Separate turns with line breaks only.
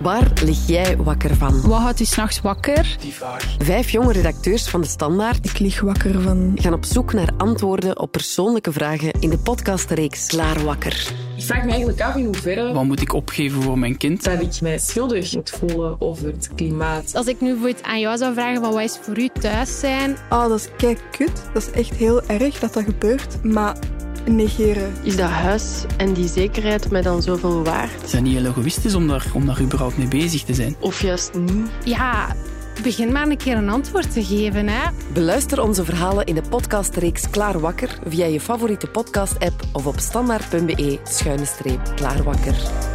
Waar lig jij wakker van?
Wat houdt u s'nachts wakker?
Vijf jonge redacteurs van de Standaard
Ik lig wakker van.
gaan op zoek naar antwoorden op persoonlijke vragen in de podcastreeks Klaar Wakker.
Ik vraag me eigenlijk af in hoeverre
Wat moet ik opgeven voor mijn kind?
dat ik mij schuldig moet voelen over het klimaat.
Als ik nu bijvoorbeeld aan jou zou vragen van wat is voor u thuis zijn,
Ah, dat is kijk kut. Dat is echt heel erg dat dat gebeurt. Maar negeren.
Is dat huis en die zekerheid mij dan zoveel waard?
Is dat niet heel egoïstisch om daar, om daar überhaupt mee bezig te zijn?
Of juist niet?
ja, begin maar een keer een antwoord te geven. Hè.
Beluister onze verhalen in de podcastreeks Klaar Wakker via je favoriete podcast-app of op standaard.be-klaarwakker.